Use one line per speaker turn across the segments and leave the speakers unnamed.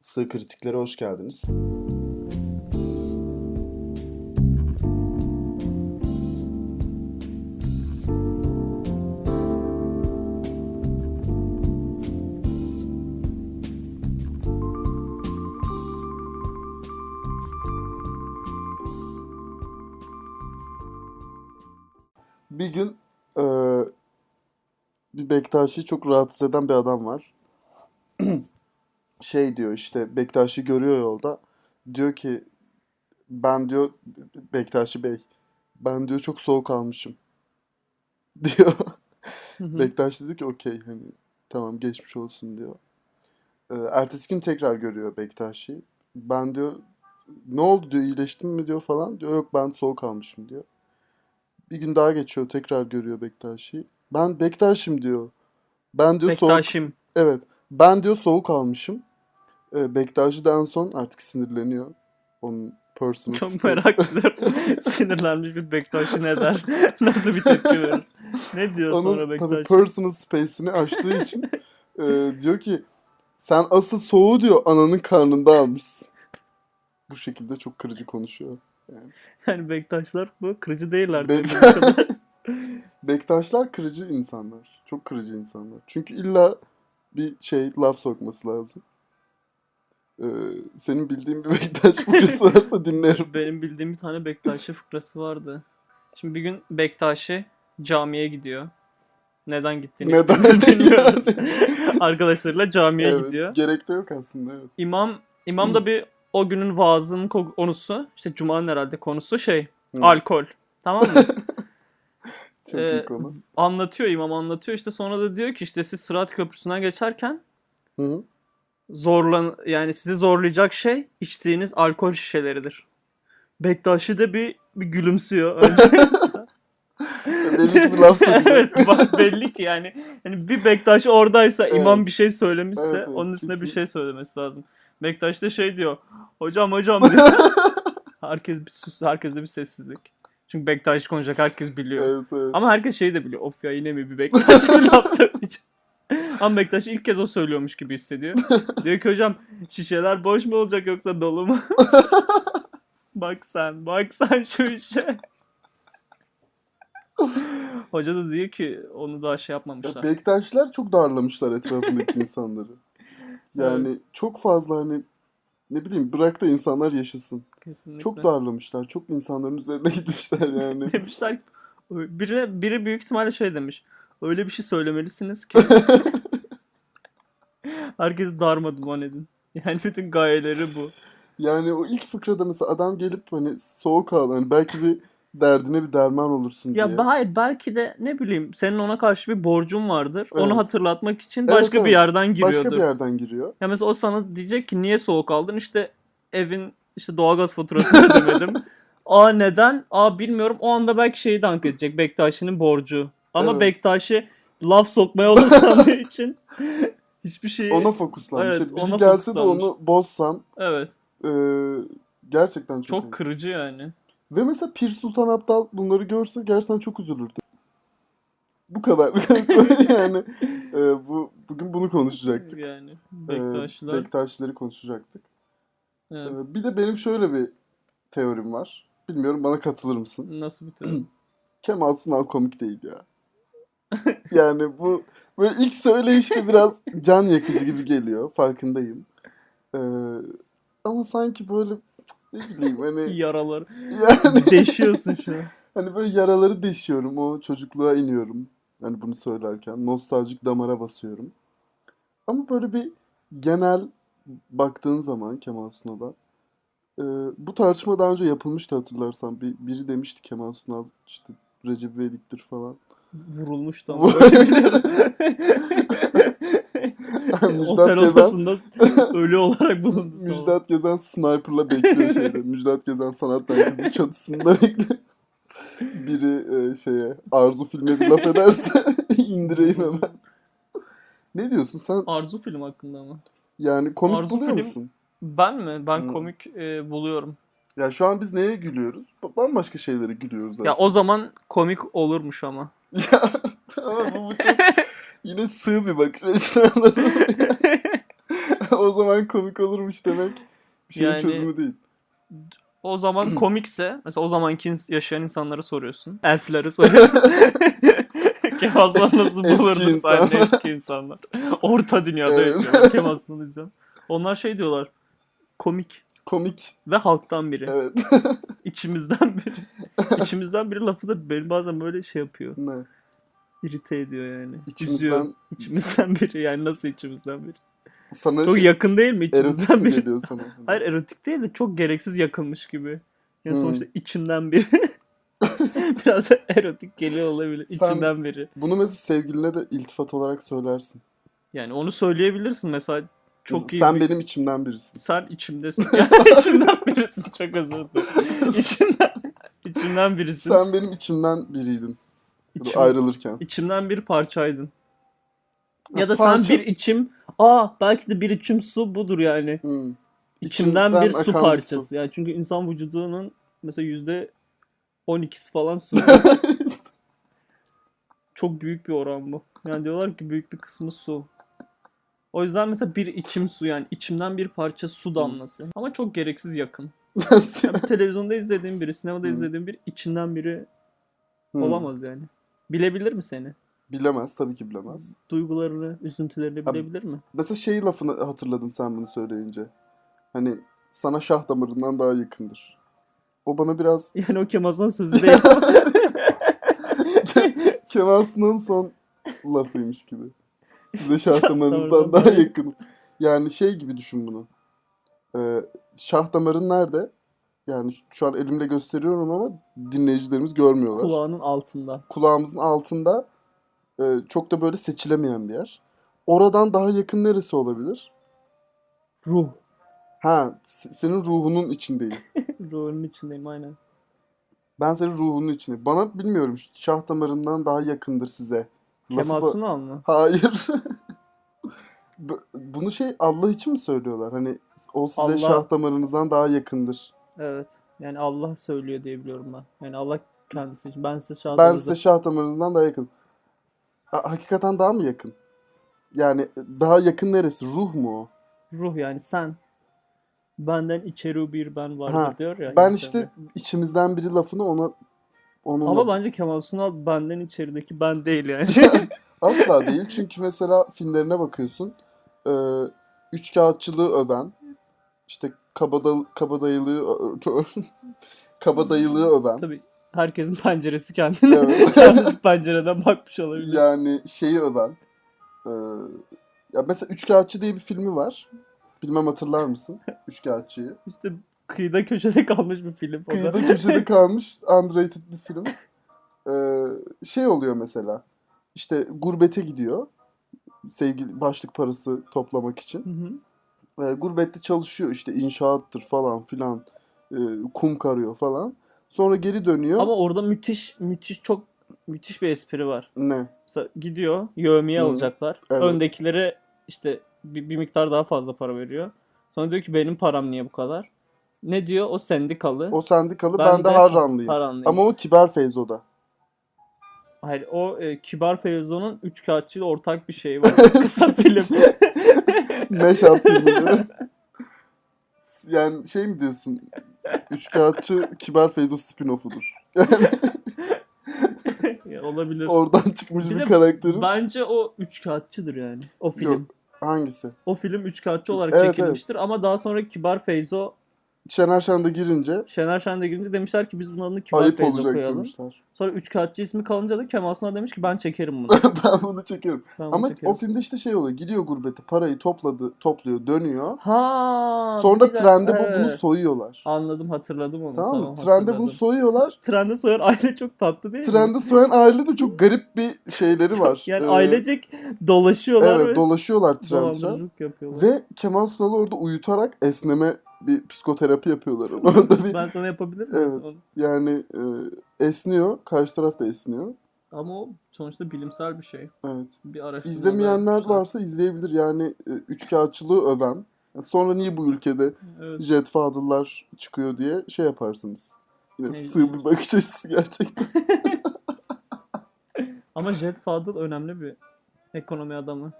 Sığ Kritiklere hoş geldiniz. Bir gün eee, bir Bektaşi'yi çok rahatsız eden bir adam var. Şey diyor işte Bektaşi görüyor yolda. Diyor ki ben diyor Bektaşi Bey ben diyor çok soğuk almışım diyor. Bektaşi diyor ki okey hani tamam geçmiş olsun diyor. Ee, ertesi gün tekrar görüyor Bektaşi. Ben diyor ne oldu diyor iyileştin mi diyor falan. Diyor yok ben soğuk almışım diyor. Bir gün daha geçiyor tekrar görüyor Bektaşi. Ben Bektaş'ım diyor. Ben diyor soğuk
Bektaşim.
Evet. Ben diyor soğuk almışım. Ee, Bektaşi de en son artık sinirleniyor. Onun personal
Çok
space-
merak ediyorum. Sinirlenmiş bir Bektaşi ne der? Nasıl bir tepki verir? Ne diyor sonra
Onun tabii
Bektaş?
personal space'ini açtığı için e, diyor ki sen asıl soğuğu diyor ananın karnında almışsın. Bu şekilde çok kırıcı konuşuyor.
Yani Bektaşlar bu kırıcı değiller.
Be-
gördüğüm kadar.
Bektaşlar kırıcı insanlar. Çok kırıcı insanlar. Çünkü illa bir şey laf sokması lazım. E, senin bildiğin bir Bektaş fıkrası varsa dinlerim.
Benim bildiğim bir tane Bektaşi fıkrası vardı. Şimdi bir gün Bektaşi camiye gidiyor. Neden gittiğini
Neden?
bilmiyoruz.
Yani.
Arkadaşlarıyla camiye
Evet,
gidiyor.
gerek de yok aslında. Evet.
İmam, imam da bir o günün vaazının ko- konusu, işte cumanın herhalde konusu şey,
Hı.
alkol. Tamam mı?
Çok
Ee,
iyi konu.
anlatıyor imam anlatıyor işte sonra da diyor ki işte siz Sırat Köprüsü'nden geçerken
Hı hı.
zorlan yani sizi zorlayacak şey içtiğiniz alkol şişeleridir. Bektaşi de bir, bir gülümsüyor. önce.
Belli ki bir laf sokacak.
evet bak belli ki yani, yani bir Bektaş oradaysa
Evet.
imam bir şey söylemişse
Evet, evet,
onun üstüne bir
kesin.
şey söylemesi lazım. Bektaş da şey diyor. Hocam hocam diyor. herkes bir sus, herkes de bir sessizlik. Çünkü Bektaş konuşacak herkes biliyor.
Evet, evet.
Ama herkes şeyi de biliyor. Of ya yine mi bir Bektaş bir laf söyleyecek. Ama Bektaş ilk kez o söylüyormuş gibi hissediyor. Diyor ki hocam şişeler boş mu olacak yoksa dolu mu? bak sen, bak sen şu işe. Hoca da diyor ki onu daha şey
Ya
yapmamışlar.
Bektaşlar çok darlamışlar etrafındaki insanları. Yani çok fazla hani ne bileyim bırak da insanlar yaşasın.
Kesinlikle.
Çok darlamışlar. Çok insanların üzerine gitmişler yani.
Demişler ki- biri, biri büyük ihtimalle şey demiş. Öyle bir şey söylemelisiniz ki. Herkes darmadağın edin. Yani bütün gayeleri bu.
Yani o ilk fıkrada mesela adam gelip hani soğuk al. Hani belki bir derdine bir derman olursun
Ya
diye.
ben- hayır belki de ne bileyim senin ona karşı bir borcun vardır. Onu
Evet.
hatırlatmak için
Evet,
başka bir
evet.
yerden giriyordur.
Başka bir yerden giriyor.
Ya mesela o sana diyecek ki niye soğuk aldın? İşte evin işte doğalgaz faturasını ödemedim. Aa neden? Aa bilmiyorum. O anda belki şeyi dank edecek. Bektaşi'nin borcu. Ama
Evet.
Bektaşi laf sokmaya odaklandığı için hiçbir şey şeyi...
Ona fokuslanmış. Hani
Evet,
Biri
ona
gelse de
fokuslanmış.
onu bozsam
Evet.
e, gerçekten çok,
Çok
iyi.
kırıcı yani.
Ve mesela Pir Sultan Abdal bunları görse gerçekten çok üzülürdü. Bu kadar. yani e, bu bugün bunu konuşacaktık.
Yani.
E,
Bektaşlar.
Bektaşileri konuşacaktık. E,
Evet.
bir de benim şöyle bir teorim var. Bilmiyorum bana katılır mısın?
Nasıl bir teori?
Kemal Sunal komik değil ya. Yani bu böyle ilk söyleyişte biraz can yakıcı gibi geliyor. Farkındayım. E, ama sanki böyle ne bileyim hani
Yaralar.
yani
Deşiyorsun şu an.
Hani böyle yaraları deşiyorum. O çocukluğa iniyorum. Hani bunu söylerken. Nostaljik damara basıyorum. Ama böyle bir genel baktığın zaman Kemal Sunal'a e, bu tartışma daha önce yapılmıştı hatırlarsan. Bir, biri demişti Kemal Sunal işte Recep İvedik'tir falan.
Vurulmuş da ama
Vur-
öyle şey. biliyorum.
Müjdat
Otel
Gezen-
odasında ölü olarak bulundu. sabah.
Müjdat Gezen sniper'la bekliyor şeyde. Müjdat Gezen sanat merkezinin çatısında bekliyor. Biri e, şeye Arzu filme bir laf ederse indireyim hemen. Ne diyorsun sen?
Arzu film hakkında ama.
Yani komik
Arzu
buluyor
film-
musun?
Ben mi? Ben
Hmm.
komik e, buluyorum.
Ya şu an biz neye gülüyoruz? B- Bambaşka şeylere gülüyoruz
Ya
aslında.
o zaman komik olurmuş ama.
Ya ama bu, bu çok yine sığ bir bakış açısı. o zaman komik olurmuş demek bir şeyin
Yani-
çözümü değil.
O zaman komikse mesela o zamanki ins- yaşayan insanlara soruyorsun. Elflere soruyorsun. Kevaslan nasıl
Eski
bulurdunuz
insan.
aynı eski insanlar. Orta dünyada
Evet.
yaşıyorlar Kevaslan'ı izleyen. Onlar şey diyorlar. Komik
Komik.
ve halktan biri.
Evet.
İçimizden biri. İçimizden biri lafı da beni bazen böyle şey yapıyor.
ne?
İrite ediyor yani. Üzüyor.
İçimizden
İçimizden biri yani nasıl içimizden biri?
sana
Çok
şey,
yakın değil mi
erotik
içimizden
mi
biri?
geliyor sana?
Hayır erotik değil de çok gereksiz yakınmış gibi. Yani
Hmm.
sonuçta içimden biri. Biraz da erotik geliyor olabilir.
Sen-
İçimden biri.
Bunu mesela sevgiline de iltifat olarak söylersin.
Yani onu söyleyebilirsin mesela. Çok iyi.
Sen
bir-
benim içimden birisin.
Sen içimdesin. Yani içimden birisin. Çok özür dilerim. İçimden, içimden birisin.
Sen benim içimden biriydin. Bu da
İçim-
Ayrılırken.
İçimden bir parçaydın. Ya da
Parça-
sen bir içim, aa belki de bir içim su budur yani.
Hı.
İçimden,
İçimden
bir su
akan bir
parçası. Yani çünkü insan vücudunun mesela yüzde 12'si falan su. Çok büyük bir oran bu. Yani diyorlar ki büyük bir kısmı su. O yüzden mesela bir içim su yani içimden bir parça su damlası. Ama çok gereksiz yakın.
Nasıl?
Yani bir televizyonda izlediğim biri, sinemada
Hı.
izlediğim biri içinden biri
Hı.
olamaz yani. Bilebilir mi seni?
Hmm. Bilemez tabii ki bilemez.
duygularını, üzüntülerini
Abi-
bilebilir mi?
Mesela şey lafını hatırladım sen bunu söyleyince. Hani sana şah damarından daha yakındır. O bana biraz
Yani o Kemaz'ın sözü değil.
Kemal Sunal'ın son lafıymış gibi. Size şah
Şah damarından
damarınızdan daha
daha-
yakın. Yani şey gibi düşün bunu. Ee, şah damarın nerede? Yani şu an elimle gösteriyorum ama dinleyicilerimiz görmüyorlar.
Kulağının altında.
Kulağımızın altında e, çok da böyle seçilemeyen bir yer. Oradan daha yakın neresi olabilir?
Ruh.
Ha, se- senin ruhunun içindeyim.
Ruhunun içindeyim aynen.
Ben senin ruhunun içinde. Bana bilmiyorum şah damarından daha yakındır size. Lafı
Kemal
da-
Sunal mı?
Hayır. Bu- Bunu şey Allah için mi söylüyorlar? Hani o size
Allah-
şah damarınızdan daha yakındır.
Evet. Yani Allah söylüyor diye biliyorum ben. Yani Allah kendisi için. Ben size şahit
Ben size şah damarınızdan daha yakın. Ha- hakikaten daha mı yakın? Yani daha yakın neresi? Ruh mu o?
Ruh yani sen. Benden içeri bir ben vardır
Ha,
diyor ya.
Ben
insan
işte
diyor.
içimizden biri lafını ona onunla
Ama bence Kemal Sunal benden içerideki ben değil yani.
Asla değil çünkü mesela filmlerine bakıyorsun. E, üç kağıtçılığı öven, işte kabada, kabadayılığı kabadayılığı öven.
Tabii herkesin penceresi kendine.
Evet.
Kendi pencereden bakmış olabilir.
yani şeyi öven. e, ya mesela Üç Kağıtçı diye bir filmi var. Bilmem hatırlar mısın? Üç Kağıtçıyı.
İşte kıyıda köşede kalmış bir film. o da.
Kıyıda köşede kalmış underrated bir film. E, şey oluyor mesela. İşte gurbete gidiyor. Sevgili başlık parası toplamak için.
Hı hı.
E, gurbette çalışıyor işte inşaattır falan filan e, kum karıyor falan. Sonra geri dönüyor.
Ama orada müthiş müthiş çok müthiş bir espri var.
Ne?
Mesela gidiyor yövmiye
Hı,
alacaklar.
evet.
Öndekilere işte bir, bir miktar daha fazla para veriyor. Sonra diyor ki benim param niye bu kadar? Ne diyor? O sendikalı.
O sendikalı ben,
Ben
de,
de
Harranlıyım.
paranlıyım.
Ama o kiber Feyzo'da.
Hayır o e, Kibar Feyzo'nun üç kağıtçıyla ortak bir şeyi var. Kısa film.
Meşap filmini. yani şey mi diyorsun? Üç kağıtçı kiber Feyzo spin-off'udur.
Ya, olabilir.
Oradan çıkmış
Bir
bir,
de
karakterin.
Bence o üç kağıtçıdır yani. O film.
Yok, hangisi?
O film üç kağıtçı olarak
Evet,
çekilmiştir. Ama daha sonra Kibar Feyzo
Şener Şen de girince
Şener Şen'de girince demişler ki biz bunun adını Kibar
ayıp
Feyzo
olacak
koyalım.
demişler.
Sonra üç kağıtçı ismi kalınca da Kemal Sunal demiş ki ben çekerim bunu.
ben bunu çekiyorum.
Ben bunu
Ama
çekerim.
o filmde işte şey oluyor. Gidiyor gurbete parayı topladı, topluyor, dönüyor.
Ha.
Sonra
bir dakika,
trende bu, bunu
evet.
soyuyorlar.
Anladım hatırladım onu.
Tamam mı?
Tamam,
Trende bunu
hatırladım.
soyuyorlar.
Trende soyan aile çok tatlı değil mi?
Trende soyan aile de çok garip bir şeyleri var.
Yani
Ee,
ailecek dolaşıyorlar
Evet
ve
dolaşıyorlar tren tren.
dolandırıcılık yapıyorlar.
Ve Kemal Sunal'ı orada uyutarak esneme bir psikoterapi yapıyorlar. Orada bir
Ben sana yapabilir miyim?
Evet.
Onu-
yani e, esniyor. Karşı taraf da esniyor.
Ama o sonuçta bilimsel bir şey.
Evet.
Bir araştırma. şey.
İzlemeyenler
yapmışlar.
varsa izleyebilir. Yani e, üçkağıtçılığı öven. Sonra niye bu ülkede
Evet.
Jet Fadıl'lar çıkıyor diye şey yaparsınız. Yine
Ne-
sığ bir bakış açısı gerçekten.
Ama Jet Fadıl önemli bir ekonomi adamı.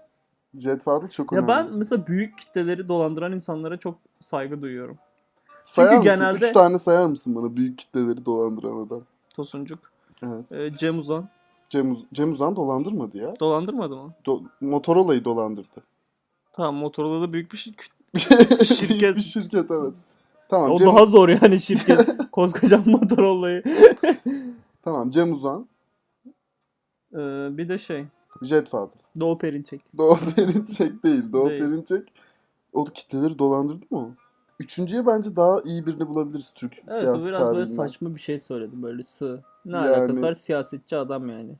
Cetvatıl çok
Ya
önemli.
ben mesela büyük kitleleri dolandıran insanlara çok saygı duyuyorum.
sayar
çünkü
mısın?
genelde-
Üç tane sayar mısın bana büyük kitleleri dolandıran adam?
Tosuncuk,
Evet.
e, Cem Uzan
Cem, Uz- Cem Uzan dolandırmadı ya.
dolandırmadı mı?
Do- Motorola'yı dolandırdı.
Tamam Motorola'da büyük bir şirket.
Büyük bir şirket evet. Tamam,
O
Cem,
daha zor yani şirket. Koskoca Motorola'yı.
tamam Cem Uzan,
E, bir de şey
Jetfather.
Doğu Perinçek.
Doğu Perinçek değil. Doğu
Değil.
Perinçek o kitleleri dolandırdı mı? o? Üçüncüye bence daha iyi birini bulabiliriz Türk
Evet
siyasi
o biraz böyle
tarihinden.
saçma bir şey söyledi böyle sığ. Ne
Yani-
alakası var siyasetçi adam yani.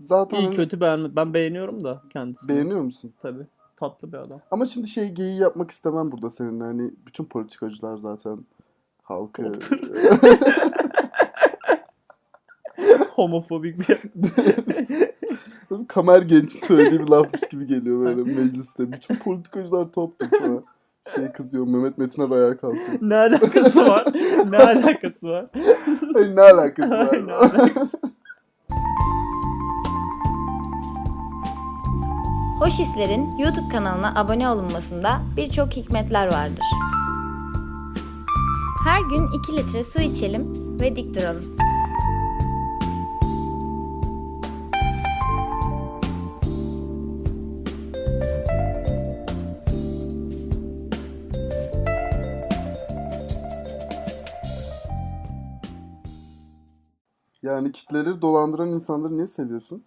Zaten
İyi
hani
kötü beğenme. Ben beğeniyorum da kendisini.
beğeniyor musun?
Tabii. Tatlı bir adam.
Ama şimdi şey geyiği yapmak istemem burada seninle. Hani bütün politikacılar zaten halkı
Homofobik bir
kamer genç söylediği bir lafmış gibi geliyor böyle mecliste. Bütün politikacılar toplu falan. Şey kızıyor Mehmet Metiner ayağa kalkıyor.
Ne alakası var? Ne alakası var?
Ay, ne alakası
Ay, ne
var?
alakası?
Hoş Hisler'in YouTube kanalına abone olunmasında birçok hikmetler vardır. Her gün 2 litre su içelim ve dik duralım.
yani kitleleri dolandıran insanları niye seviyorsun?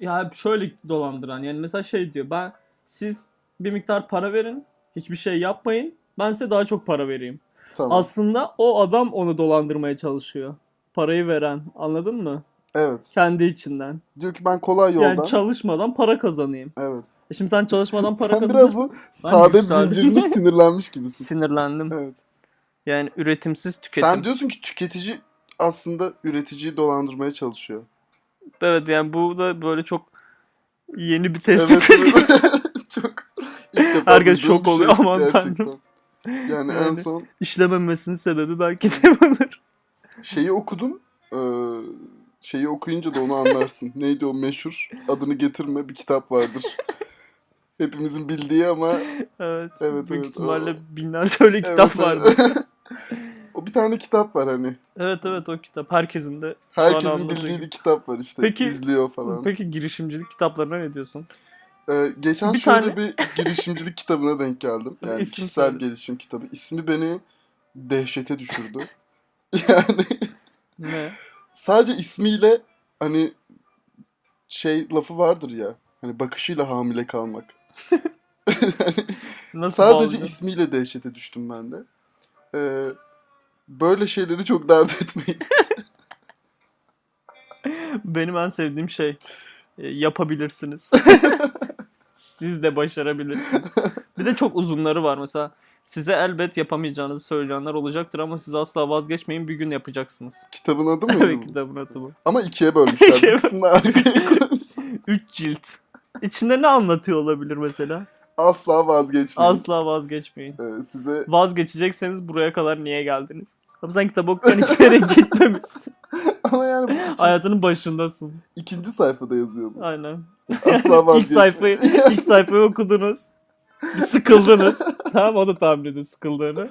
ya şöyle dolandıran yani mesela şey diyor ben siz bir miktar para verin hiçbir şey yapmayın ben size daha çok para vereyim.
Tamam.
Aslında o adam onu dolandırmaya çalışıyor. Parayı veren anladın mı?
evet.
Kendi içinden.
Diyor ki ben kolay yoldan.
Yani çalışmadan para kazanayım.
evet.
E Şimdi sen çalışmadan para
Sen biraz
kazanırsın.
bu sade
yükseldim.
zincirine sinirlenmiş gibisin.
Sinirlendim.
Evet.
Yani üretimsiz
Sen diyorsun ki tüketici aslında üreticiyi dolandırmaya çalışıyor.
Evet yani bu da böyle çok yeni bir
Evet. çok ilk defa
Herkes
duyduğum
şok
bir şey.
oluyor, aman
gerçekten.
tanrım.
Yani en
Yani.
son
İşlememesinin sebebi belki de budur.
şeyi okudum. Ee, şeyi okuyunca da onu anlarsın. Neydi o meşhur adını getirme bir kitap vardır. Hepimizin bildiği ama
Evet.
Evet,
büyük
evet,
ihtimalle
o-
binlerce öyle kitap
Evet,
vardı. Evet.
evet. o bir tane kitap var hani.
evet o kitap herkesin de şu an
Herkesin
anladığı
bildiği
gibi.
bir kitap var işte.
Peki-
izliyor falan.
Peki girişimcilik kitaplarına ne diyorsun?
Ee, geçen
Bir
şöyle
tane-
bir girişimcilik kitabına denk geldim. Yani
İsim
kişisel
söyle.
gelişim kitabı. İsmi beni dehşete düşürdü. yani
Ne?
sadece ismiyle hani şey lafı vardır ya. Hani bakışıyla hamile kalmak.
Nasıl
Sadece
bağlı?
ismiyle dehşete düştüm ben de. Ee, böyle şeyleri çok dert etmeyin.
Benim en sevdiğim şey e, yapabilirsiniz. Siz de başarabilirsiniz. Bir de çok uzunları var mesela. Size elbet yapamayacağınızı söyleyenler olacaktır ama siz asla vazgeçmeyin bir gün yapacaksınız.
Kitabın adı mıydı
Evet
bu?
kitabın adı bu.
Ama ikiye bölmüşler.
İkiye
Bir kısmını arkaya koymuş.
3 cilt. İçinde ne anlatıyor olabilir mesela?
Asla vazgeçmeyin.
Asla vazgeçmeyin.
Ee, size
Vazgeçecekseniz buraya kadar niye geldiniz? Ama sen kitabı okuyan hiçbir yere gitmemişsin.
ama yani bu
Hayatının başındasın.
ikinci sayfada yazıyor bu.
Aynen.
Asla vazgeçmeyin.
ilk sayfayı, ilk sayfayı okudunuz. Bir sıkıldınız. tamam o da tahmin ediyor sıkıldığını.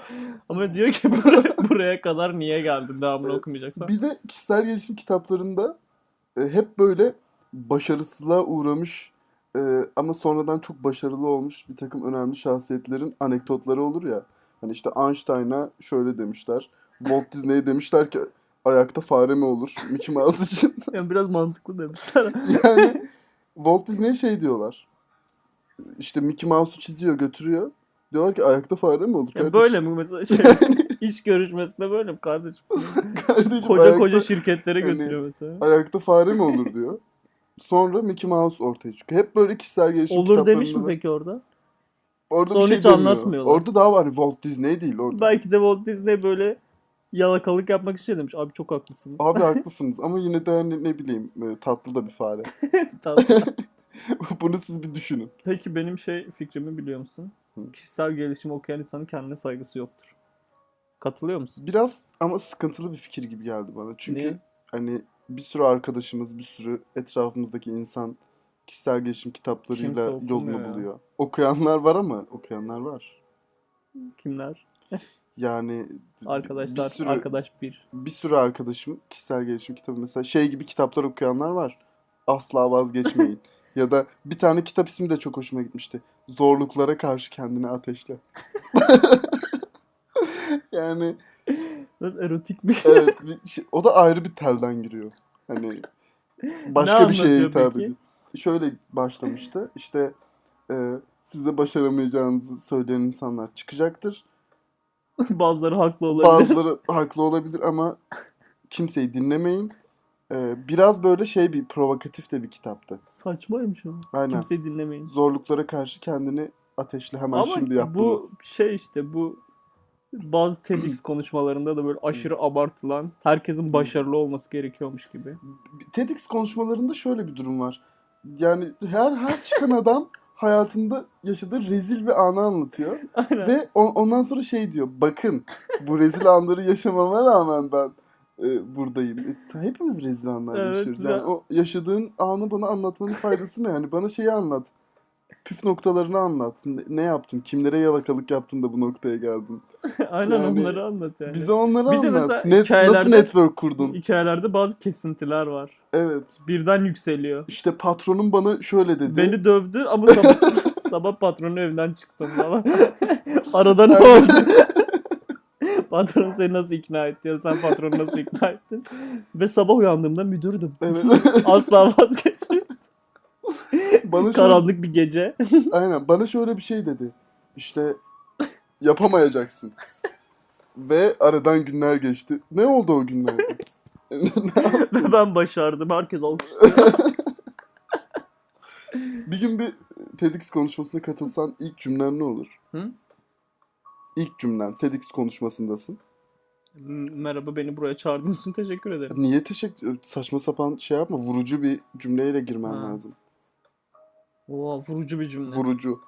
Ama diyor ki buraya, buraya kadar niye geldin devamını okumayacaksan.
Bir de kişisel gelişim kitaplarında e, hep böyle başarısızlığa uğramış e, ama sonradan çok başarılı olmuş bir takım önemli şahsiyetlerin anekdotları olur ya. Hani işte Einstein'a şöyle demişler. Walt Disney'e demişler ki ayakta fare mi olur Mickey Mouse için?
Yani biraz mantıklı demişler.
yani Walt Disney'e şey diyorlar. İşte Mickey Mouse'u çiziyor götürüyor. Diyorlar ki ayakta fare mi olur?
Yani
kardeşim?"
böyle mi mesela şey, iş görüşmesinde böyle mi kardeşim?
Kardeşim
Koca
ayakta-
koca şey- şirketlere
Hani-
götürüyor mesela.
Ayakta fare mi olur diyor. Sonra Mickey Mouse ortaya çıkıyor. Hep böyle kişisel gelişim
Olur demiş mi
kitaplarında da-
peki orada?
Orada
Sonra
bir şey
hiç
demiyor.
anlatmıyorlar.
Orada daha var Walt Disney değil orada.
Belki de Walt Disney böyle yalakalık yapmak için demiş. Abi çok haklısın.
Abi haklısınız ama yine de hani ne bileyim e, tatlı da bir fare.
Tamam.
Bunu siz bir düşünün.
Peki benim şey fikrimi biliyor musun?
Hı.
Kişisel gelişim okuyan insanın kendine saygısı yoktur. Katılıyor musun?
Biraz ama sıkıntılı bir fikir gibi geldi bana. Çünkü
Niye?
hani bir sürü arkadaşımız, bir sürü etrafımızdaki insan kişisel gelişim kitaplarıyla
Kimse okumuyor
yolunu
ya.
buluyor. Okuyanlar var ama okuyanlar var.
Kimler?
Yani
Arkadaşlar,
bir sürü
arkadaş bir.
bir sürü arkadaşım kişisel gelişim kitabı mesela şey gibi kitaplar okuyanlar var. Asla vazgeçmeyin. ya da bir tane kitap ismi de çok hoşuma gitmişti. Zorluklara karşı kendini ateşle. yani
Biraz erotikmiş.
evet, bir şey- o da ayrı bir telden giriyor. Hani başka bir şeye
anlatıyor
hitap
peki?
ediyor. Şöyle başlamıştı. İşte e, size başaramayacağınızı söyleyen insanlar çıkacaktır.
Bazıları haklı olabilir.
Bazıları haklı olabilir ama kimseyi dinlemeyin. Ee, biraz böyle şey bir provokatif de bir kitaptı.
Saçmaymış ama.
Aynen.
Kimseyi dinlemeyin.
Zorluklara karşı kendini ateşle hemen
Ama
şimdi yap bunu.
bu şey işte bu bazı TEDx konuşmalarında da böyle aşırı abartılan herkesin başarılı olması gerekiyormuş gibi.
TEDx konuşmalarında şöyle bir durum var. Yani her her çıkan adam hayatında yaşadığı rezil bir anı anlatıyor.
Aynen.
Ve on- ondan sonra şey diyor. Bakın bu rezil anları yaşamama rağmen ben e, buradayım. E, ta- hepimiz rezil anlar
Evet,
yaşıyoruz.
güzel.
Yani o yaşadığın anı bana anlatmanın faydası ne? Yani bana şeyi anlat. Püf noktalarını anlat. Ne, ne yaptın? Kimlere yalakalık yaptın da bu noktaya geldin?
Aynen
yani
onları anlat yani.
Bize onları
Bir de
anlat.
mesela
Net, Nasıl
hikayelerde-
network kurdun?
Hikayelerde bazı kesintiler var.
Evet.
Birden yükseliyor.
İşte patronum bana şöyle dedi.
Beni dövdü ama sabah, sabah patronu evden çıktım falan. Arada ne
Evet.
oldu? Patron seni nasıl ikna etti ya sen patronu nasıl ikna ettin? Ve sabah uyandığımda müdürdüm.
Evet.
Asla vazgeçmiyorum.
bana şöyle
Karanlık bir gece.
Aynen bana şöyle bir şey dedi. İşte yapamayacaksın. Ve aradan günler geçti. Ne oldu o günlerde?
Ve ben başardım. Herkes alkış.
bir gün bir TEDx konuşmasına katılsan ilk cümlen ne olur?
Hı?
İlk cümlen TEDx konuşmasındasın.
Merhaba beni buraya çağırdığınız için teşekkür ederim.
Niye teşekkür saçma sapan şey yapma vurucu bir cümleyle girmen
Ha.
lazım.
Oo, vurucu bir cümle.
Vurucu.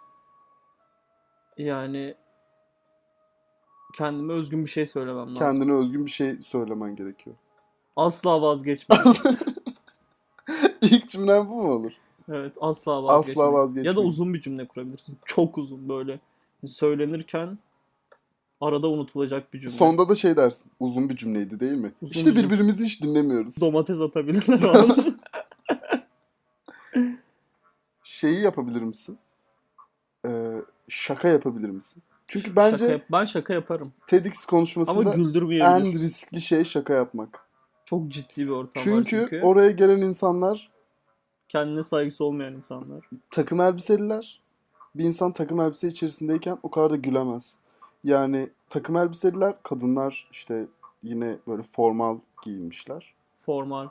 yani kendime özgün bir şey söylemem lazım.
Kendine özgün bir şey söylemen gerekiyor.
Asla vazgeçmiyorum.
İlk cümlen bu mu olur?
evet asla vazgeçmiyorum.
Asla vazgeçme.
Ya da uzun bir cümle kurabilirsin. Çok uzun böyle. Söylenirken arada unutulacak bir cümle.
Sonda da şey dersin. Uzun bir cümleydi değil mi?
Uzun
işte
bir cümle.
birbirimizi hiç dinlemiyoruz.
Domates atabilirler ona.
şeyi yapabilir misin? Ee, şaka yapabilir misin? Çünkü bence
Şaka yap- ben şaka yaparım.
TEDx
Ama
konuşmasında
güldürmeyebilir.
en riskli şey şaka yapmak.
Çok ciddi bir ortam var
çünkü,
çünkü.
oraya gelen insanlar
Kendine saygısı olmayan insanlar.
takım elbiseliler. Bir insan takım elbise içerisindeyken o kadar da gülemez. Yani takım elbiseliler, kadınlar işte yine böyle formal giyinmişler.
Formal.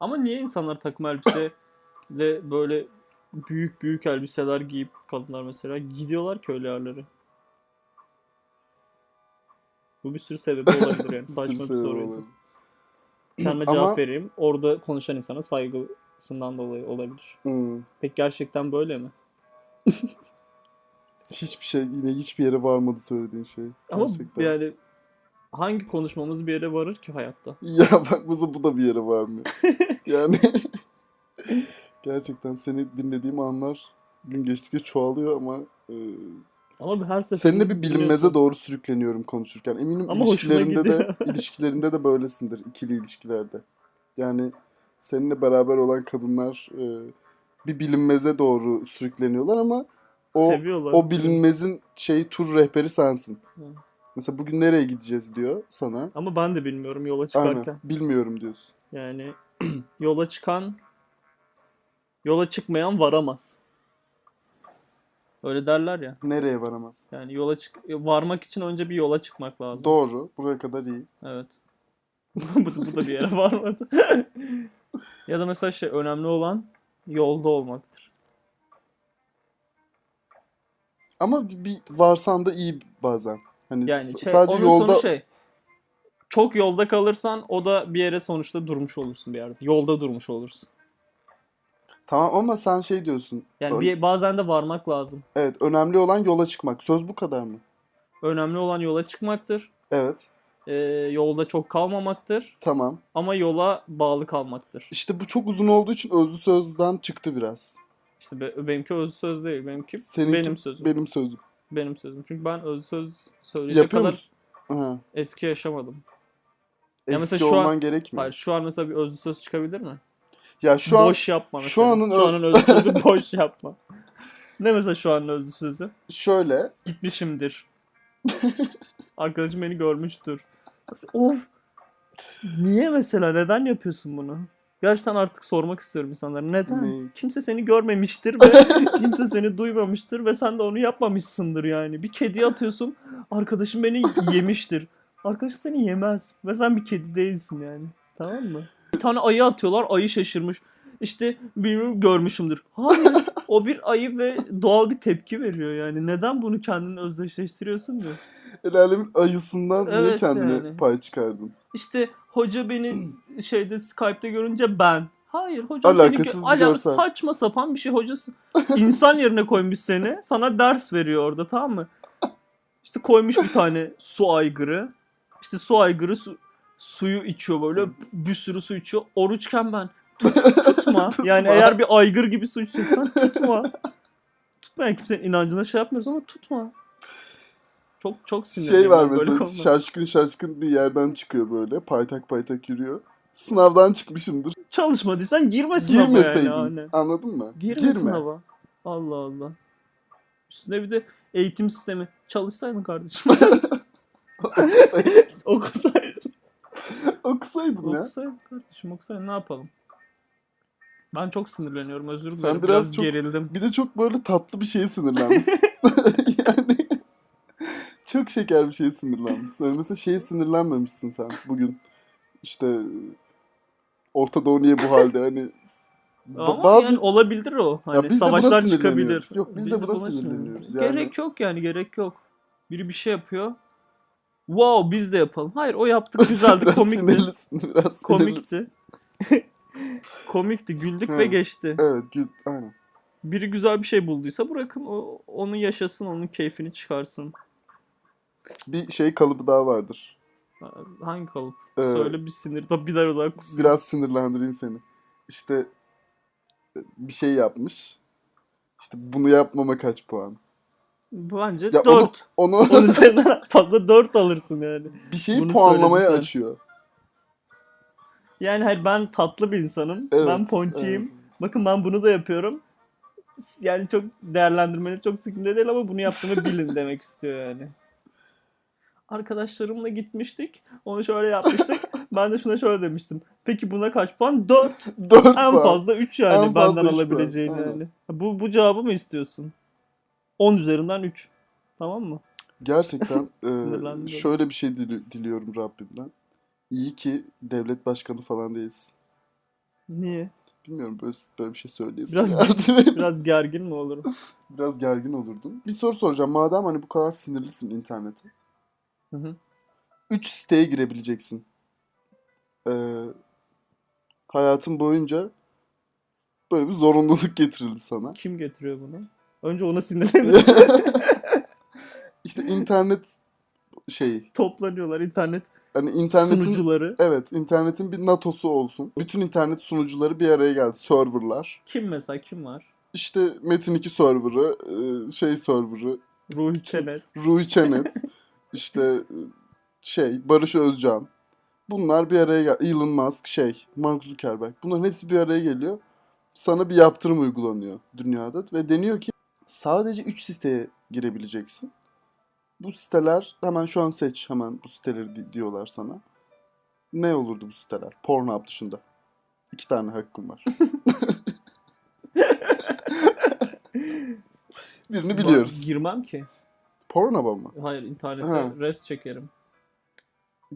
Ama niye insanlar takım elbiseyle böyle büyük büyük elbiseler giyip kadınlar mesela gidiyorlar ki öyle yerlere? Bu bir sürü sebebi olabilir yani.
Bir
Saçma bir
sürü sebebi
soruydu.
olabilir.
Kendime
Ama-
cevap vereyim. Orada konuşan insana saygısından dolayı olabilir.
Hmm.
Peki gerçekten böyle mi?
Hiçbir şey yine hiçbir yere varmadı söylediğin şey.
Ama
Gerçekten.
yani hangi konuşmamız bir yere varır ki hayatta?
Ya bak bu bu da bir yere varmıyor. Yani gerçekten seni dinlediğim anlar gün geçtikçe çoğalıyor ama e,
Ama her seferinde
seninle bir bilinmeze
biliyorsun.
doğru sürükleniyorum konuşurken. Eminim
Ama hoşuna
ilişkilerinde de
gidiyor.
ilişkilerinde de böylesindir ikili ilişkilerde. Yani seninle beraber olan kadınlar e, bir bilinmeze doğru sürükleniyorlar ama o
Seviyorlar.
o bilinmezin şey tur rehberi sensin.
Hı.
Mesela bugün nereye gideceğiz diyor sana.
Ama ben de bilmiyorum yola çıkarken.
Aynen. Bilmiyorum diyorsun.
Yani yola çıkan yola çıkmayan varamaz. Öyle derler ya.
Nereye varamaz?
Yani yola çık varmak için önce bir yola çıkmak lazım.
Doğru. Buraya kadar iyi.
Evet. bu, bu da bir yere varmadı. ya da mesela şey önemli olan yolda olmaktır.
Ama bir varsan da iyi bazen. Hani
Yani
s-
şey,
sadece
onun
yolda
sonu şey. Çok yolda kalırsan o da bir yere sonuçta durmuş olursun bir yerde. Yolda durmuş olursun.
tamam ama sen şey diyorsun.
Yani
Ön-
bir, bazen de varmak lazım.
Evet, önemli olan yola çıkmak. Söz bu kadar mı?
Önemli olan yola çıkmaktır.
Evet.
Ee, yolda çok kalmamaktır
Tamam.
ama yola bağlı kalmaktır.
İşte bu çok uzun olduğu için özlü sözden çıktı biraz.
İşte be- benimki özlü söz değil. Benimki
Seninki-
benim sözüm. Benim,
Benim sözüm.
sözüm. Çünkü ben özlü söz söyleyecek
Yapıyor
kadar
musun? Ha.
eski yaşamadım.
Eski
Ya mesela şu an-
olman gerekmiyor.
Hayır şu an mesela bir özlü söz çıkabilir mi?
Ya şu an
boş yapma
şu
mesela.
anın
şu
ö-
anın özlü sözü boş yapma. Ne mesela şu anın özlü sözü?
şöyle
Gitmişimdir. Arkadaşım beni görmüştür. Of. Niye mesela? Neden yapıyorsun bunu? Gerçekten artık sormak istiyorum insanlara. Neden?
Ne?
Kimse seni görmemiştir ve kimse seni duymamıştır ve sen de onu yapmamışsındır yani. Bir kedi atıyorsun. Arkadaşım beni yemiştir. Arkadaşın seni yemez. Ve sen bir kedi değilsin yani. Tamam mı? Bir tane ayı atıyorlar. Ayı şaşırmış. İşte bilmiyorum görmüşümdür. Hayır. O bir ayı ve doğal bir tepki veriyor yani. Neden bunu kendini özdeşleştiriyorsun ki?
el alemin ayısından niye
Evet
kendine
yani.
pay çıkardın?
İşte hoca beni şeyde Skype'te görünce ben. Hayır hoca
Alakasız
seni
bir
gö- Ala-
görsel.
saçma sapan bir şey hocası. insan yerine koymuş seni. Sana ders veriyor orada tamam mı? İşte koymuş bir tane su aygırı. İşte su aygırı su- suyu içiyor böyle bir sürü su içiyor. Oruçken ben tut- tutma. Yani
Tutma.
eğer bir aygır gibi su içeceksen tutma. Tutma yani kimsenin inancına şey yapmıyoruz ama tutma. Çok çok sinirliyim.
Şey var
ben böyle
mesela
konuda.
şaşkın şaşkın bir yerden çıkıyor böyle paytak paytak yürüyor. Sınavdan çıkmışımdır.
çalışmadıysan girme sınava
Girmeseydin.
yani. aynen.
Anladın mı?
Girme, sınava. Allah Allah. Üstüne bir de eğitim sistemi. Çalışsaydın kardeşim. okusaydın.
Okusaydın ya.
Okusaydın kardeşim okusaydın ne yapalım. Ben çok sinirleniyorum özür
Sen
dilerim. biraz,
biraz çok-
gerildim.
Bir de çok böyle tatlı bir şeye sinirlenmişsin. yani çok şeker bir şeye sinirlenmişsin. Öyle mesela şeye sinirlenmemişsin sen bugün. İşte Orta Doğu niye bu halde? Hani ba-
Ama
bazı
yani olabilir o. Hani
biz de buna
savaşlar
sinirleniyoruz.
çıkabilir.
Yok, biz de buna sinirleniyoruz. Yani-
Gerek yok yani gerek yok. Biri bir şey yapıyor. Wow biz de yapalım. Hayır o yaptık güzeldi
biraz
komikti.
sinirlisin, biraz sinirlisin.
Komikti. Komikti. Güldük
Hı.
ve geçti.
Evet, gül, aynen.
Biri güzel bir şey bulduysa bırakın o, onu yaşasın, onun keyfini çıkarsın.
Bir şey kalıbı daha vardır.
Hangi kalıp?
Ee,
Söyle bir sinir. Da bir daha daha kus.
Biraz sinirlendireyim seni. İşte e, bir şey yapmış. İşte bunu yapmama kaç puan?
Bence
Ya
4.
Onu
Onun üzerinden fazla 4 alırsın yani.
bir şeyi
Bunu
puanlamaya
söyledim sana.
açıyor.
Yani hayır ben tatlı bir insanım.
Evet,
ben ponçiyim.
evet.
Bakın ben bunu da yapıyorum. Yani çok değerlendirmeniz çok sıkıntı değil ama bunu yaptığımı bilin demek istiyor yani. Arkadaşlarımla gitmiştik. Onu şöyle yapmıştık. ben de şuna şöyle demiştim. Peki buna kaç puan? 4.
Dört
En
puan.
fazla 3 yani
En fazla
benden
üç puan,
alabileceğin
aynen.
yani. Bu, bu cevabı mı istiyorsun? 10 üzerinden 3. Tamam mı?
Gerçekten e,
Sinirlendim.
şöyle bir şey dili- diliyorum Rabbimden. İyi ki devlet başkanı falan değilsin.
Niye?
Bilmiyorum böyle, böyle bir şey söyleyesin.
Biraz-
geldi.
Biraz gergin mi olurum?
Biraz gergin olurdun. Bir soru soracağım. Madem hani bu kadar sinirlisin internete.
Hı hı.
Üç siteye girebileceksin. Ee, hayatın boyunca böyle bir zorunluluk getirildi sana.
Kim getiriyor bunu? Önce ona sinirlenip
İşte internet şeyi.
toplanıyorlar internet
Hani internetin...
sunucuları.
Evet, internetin bir NATO'su olsun. Bütün internet sunucuları bir araya geldi. Serverlar.
Kim mesela kim var?
İşte Metin 2 serverı, e, şey serverı,
Ruhi Çenet.
Ruhi Çenet, işte e, şey Barış Özcan. Bunlar bir araya gel Elon Musk, şey Mark Zuckerberg. Bunların hepsi bir araya geliyor. Sana bir yaptırım uygulanıyor dünyada ve deniyor ki sadece 3 siteye girebileceksin. Bu siteler hemen şu an seç hemen bu siteleri di- diyorlar sana. Ne olurdu bu siteler? Pornhub dışında. İki tane hakkım var. Birini biliyoruz.
Ben girmem ki.
Pornhub'a mı?
Hayır internete
Ha.
res çekerim.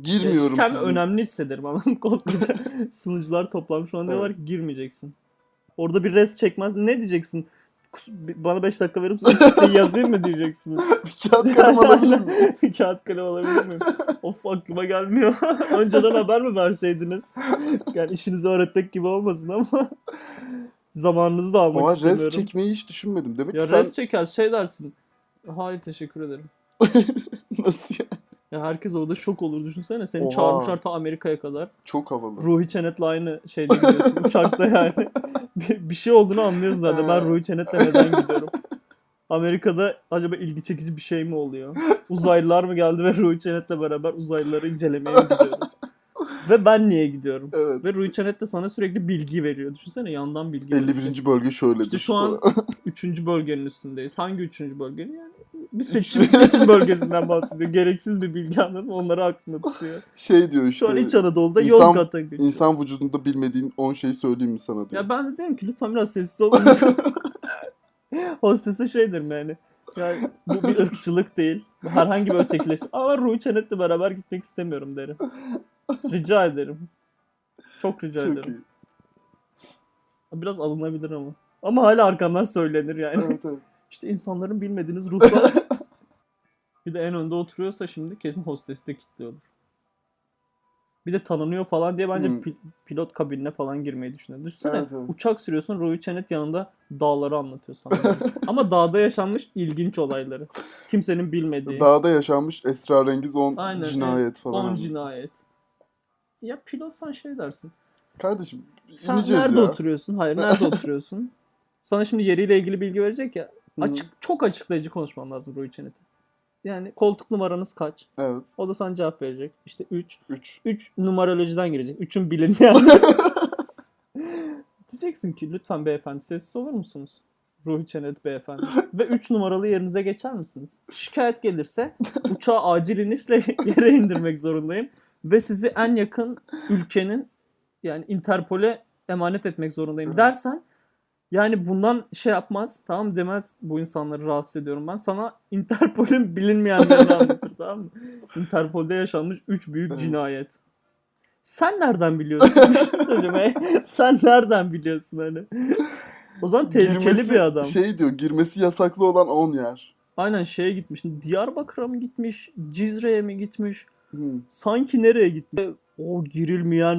Girmiyorum
Kendimi
sizin.
önemli hissederim anladın mı? Koskoca sunucular toplanmış falan diyorlar ki girmeyeceksin. Orada bir res çekmez. Ne diyeceksin? Kus- Bana 5 dakika verir misin? Siteyi yazayım mı diyeceksin?
Kağıt kalem alabilir miyim?
Kağıt kalem alabilir miyim? of aklıma gelmiyor. Önceden haber mi verseydiniz? Yani işinizi öğretmek gibi olmasın ama zamanınızı da almak
Ama
istemiyorum.
res çekmeyi hiç düşünmedim. Demek
Ya
ki sen
res çeker şey dersin. Hayır teşekkür ederim.
nasıl ya?
Ya herkes orada şok olur düşünsene. Seni
Oha.
çağırmışlar ta Amerika'ya kadar.
Çok havalı.
Ruhi Çenet'le aynı şeyde gidiyorsun uçakta yani. bir, bir şey olduğunu anlıyoruz zaten. Ben Ruhi Çenet'le neden gidiyorum? Amerika'da acaba ilgi çekici bir şey mi oluyor? Uzaylılar mı geldi ve Ruhi Çenet'le beraber uzaylıları incelemeye mi gidiyoruz? ve ben niye gidiyorum?
Evet.
Ve Ruhi Çenet de sana sürekli bilgi veriyor. Düşünsene yandan bilgi veriyor.
51. bölge şöyledir.
İşte şu an üçüncü bölgenin üstündeyiz. Hangi üçüncü bölge? Yani bir seçim, seçim bölgesinden bahsediyor. Gereksiz bir bilgi anladın mı? Onları aklında tutuyor.
şey diyor işte.
Şu an İç Anadolu'da
İnsan-
Yozgat'a geçiyor.
İnsan vücudunda bilmediğin 10 şeyi söyleyeyim mi sana diyor.
Ya ben de dedim ki lütfen biraz sessiz olun. Hostesi şey derim yani. Yani bu bir ırkçılık değil. Bu Herhangi bir ötekileşme. Ama Ruhi Çenet'le beraber gitmek istemiyorum derim. Rica ederim. Çok rica
Çok
ederim.
iyi.
Biraz alınabilir ama. Ama hala arkamdan söylenir yani.
Evet, evet.
İşte insanların bilmediğiniz ruhlar. bir de en önde oturuyorsa şimdi kesin hostesi de kilitliyordur. Bir de tanınıyor falan diye bence
Hmm.
pil- pilot kabinine falan girmeyi düşünüyor. Düşünsene
Evet, evet.
uçak sürüyorsun Ruhi Çenet yanında dağları anlatıyor sana. Ama dağda yaşanmış ilginç olayları. Kimsenin bilmediği.
Dağda yaşanmış esrarengiz 10
Aynen,
cinayet falan.
10 cinayet. Ya pilotsan şey dersin.
Kardeşim
Sen
ineceğiz
nerede
ya.
oturuyorsun? Hayır nerede oturuyorsun? Sana şimdi yeriyle ilgili bilgi verecek ya.
Hı,
Açık, çok açıklayıcı konuşman lazım Ruhi Çenet'e. Yani koltuk numaranız kaç?
Evet.
O da sana cevap verecek. İşte 3.
3.
3 numarolojiden girecek. 3'ün bilinmeyen. Diyeceksin ki lütfen beyefendi sessiz olur musunuz? Ruhi Çenet beyefendi. Ve 3 numaralı yerinize geçer misiniz? Şikayet gelirse uçağı acil inişle yere indirmek zorundayım. Ve sizi en yakın ülkenin yani Interpol'e emanet etmek zorundayım
Hı.
dersen yani bundan şey yapmaz tamam demez bu insanları rahatsız ediyorum ben. Sana Interpol'ün bilinmeyenlerini anlatır tamam mı? Interpol'de yaşanmış 3 büyük
Evet.
cinayet. Sen nereden biliyorsun? Bir şey söyleyeceğim. Hey, Sen nereden biliyorsun hani? O zaman tehlikeli
Girmesi-
bir adam.
Şey diyor girmesi yasaklı olan 10 yer.
Aynen şeye gitmiş. Diyarbakır'a mı gitmiş? Cizre'ye mi gitmiş?
Hı.
Sanki nereye gitmiş? O girilmeyen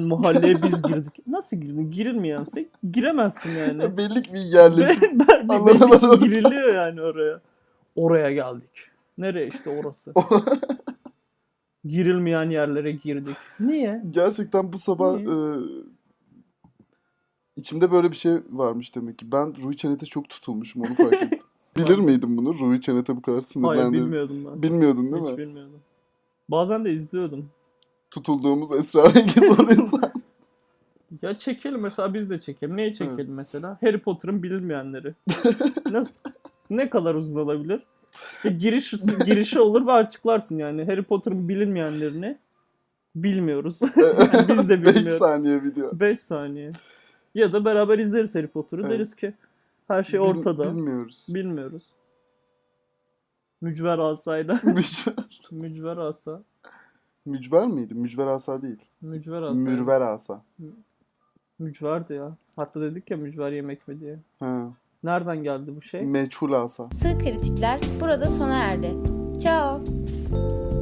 mahalleye biz girdik. Nasıl girdin? Girilmeyense giremezsin yani.
Ya Belli ki bir yerleşim.
Ben- ben-
Allah
belli ki
Allah.
giriliyor yani oraya. Oraya geldik. Nereye işte orası. Girilmeyen yerlere girdik. Niye?
Gerçekten bu sabah
Niye?
e, içimde böyle bir şey varmış demek ki. Ben Ruhi Çenet'e çok tutulmuşum onu fark ettim. Bilir miydin bunu? Ruhi Çenet'e bu kadar
Hayır
sinirlendim.
bilmiyordum ben.
Bilmiyordun değil
Hiç
mi?
bilmiyordum. Bazen de izliyordum.
Tutulduğumuz esrarengiz olan insan.
Ya çekelim mesela biz de çekelim. Neyi çekelim mesela? Harry Potter'ın bilinmeyenleri. Nasıl? Ne kadar uzun olabilir? E, giriş girişi olur ve açıklarsın yani. Harry Potter'ın bilinmeyenlerini bilmiyoruz. Yani biz de
5
bilmiyoruz.
saniye video.
5 saniye. Ya da beraber izleriz Harry Potter'ı
Evet.
deriz ki her şey
Bil-
ortada.
Bilmiyoruz.
Bilmiyoruz. Mücver asayla.
Mücver,
Mücver asa.
mücver miydi? Mücver asa değil.
Mücver asa.
Mürver asa.
Mücverdi ya. Hatta dedik ya mücver yemek mi diye.
Ha.
Nereden geldi bu şey?
Meçhul asa.
Sığ kritikler burada sona erdi. Ciao.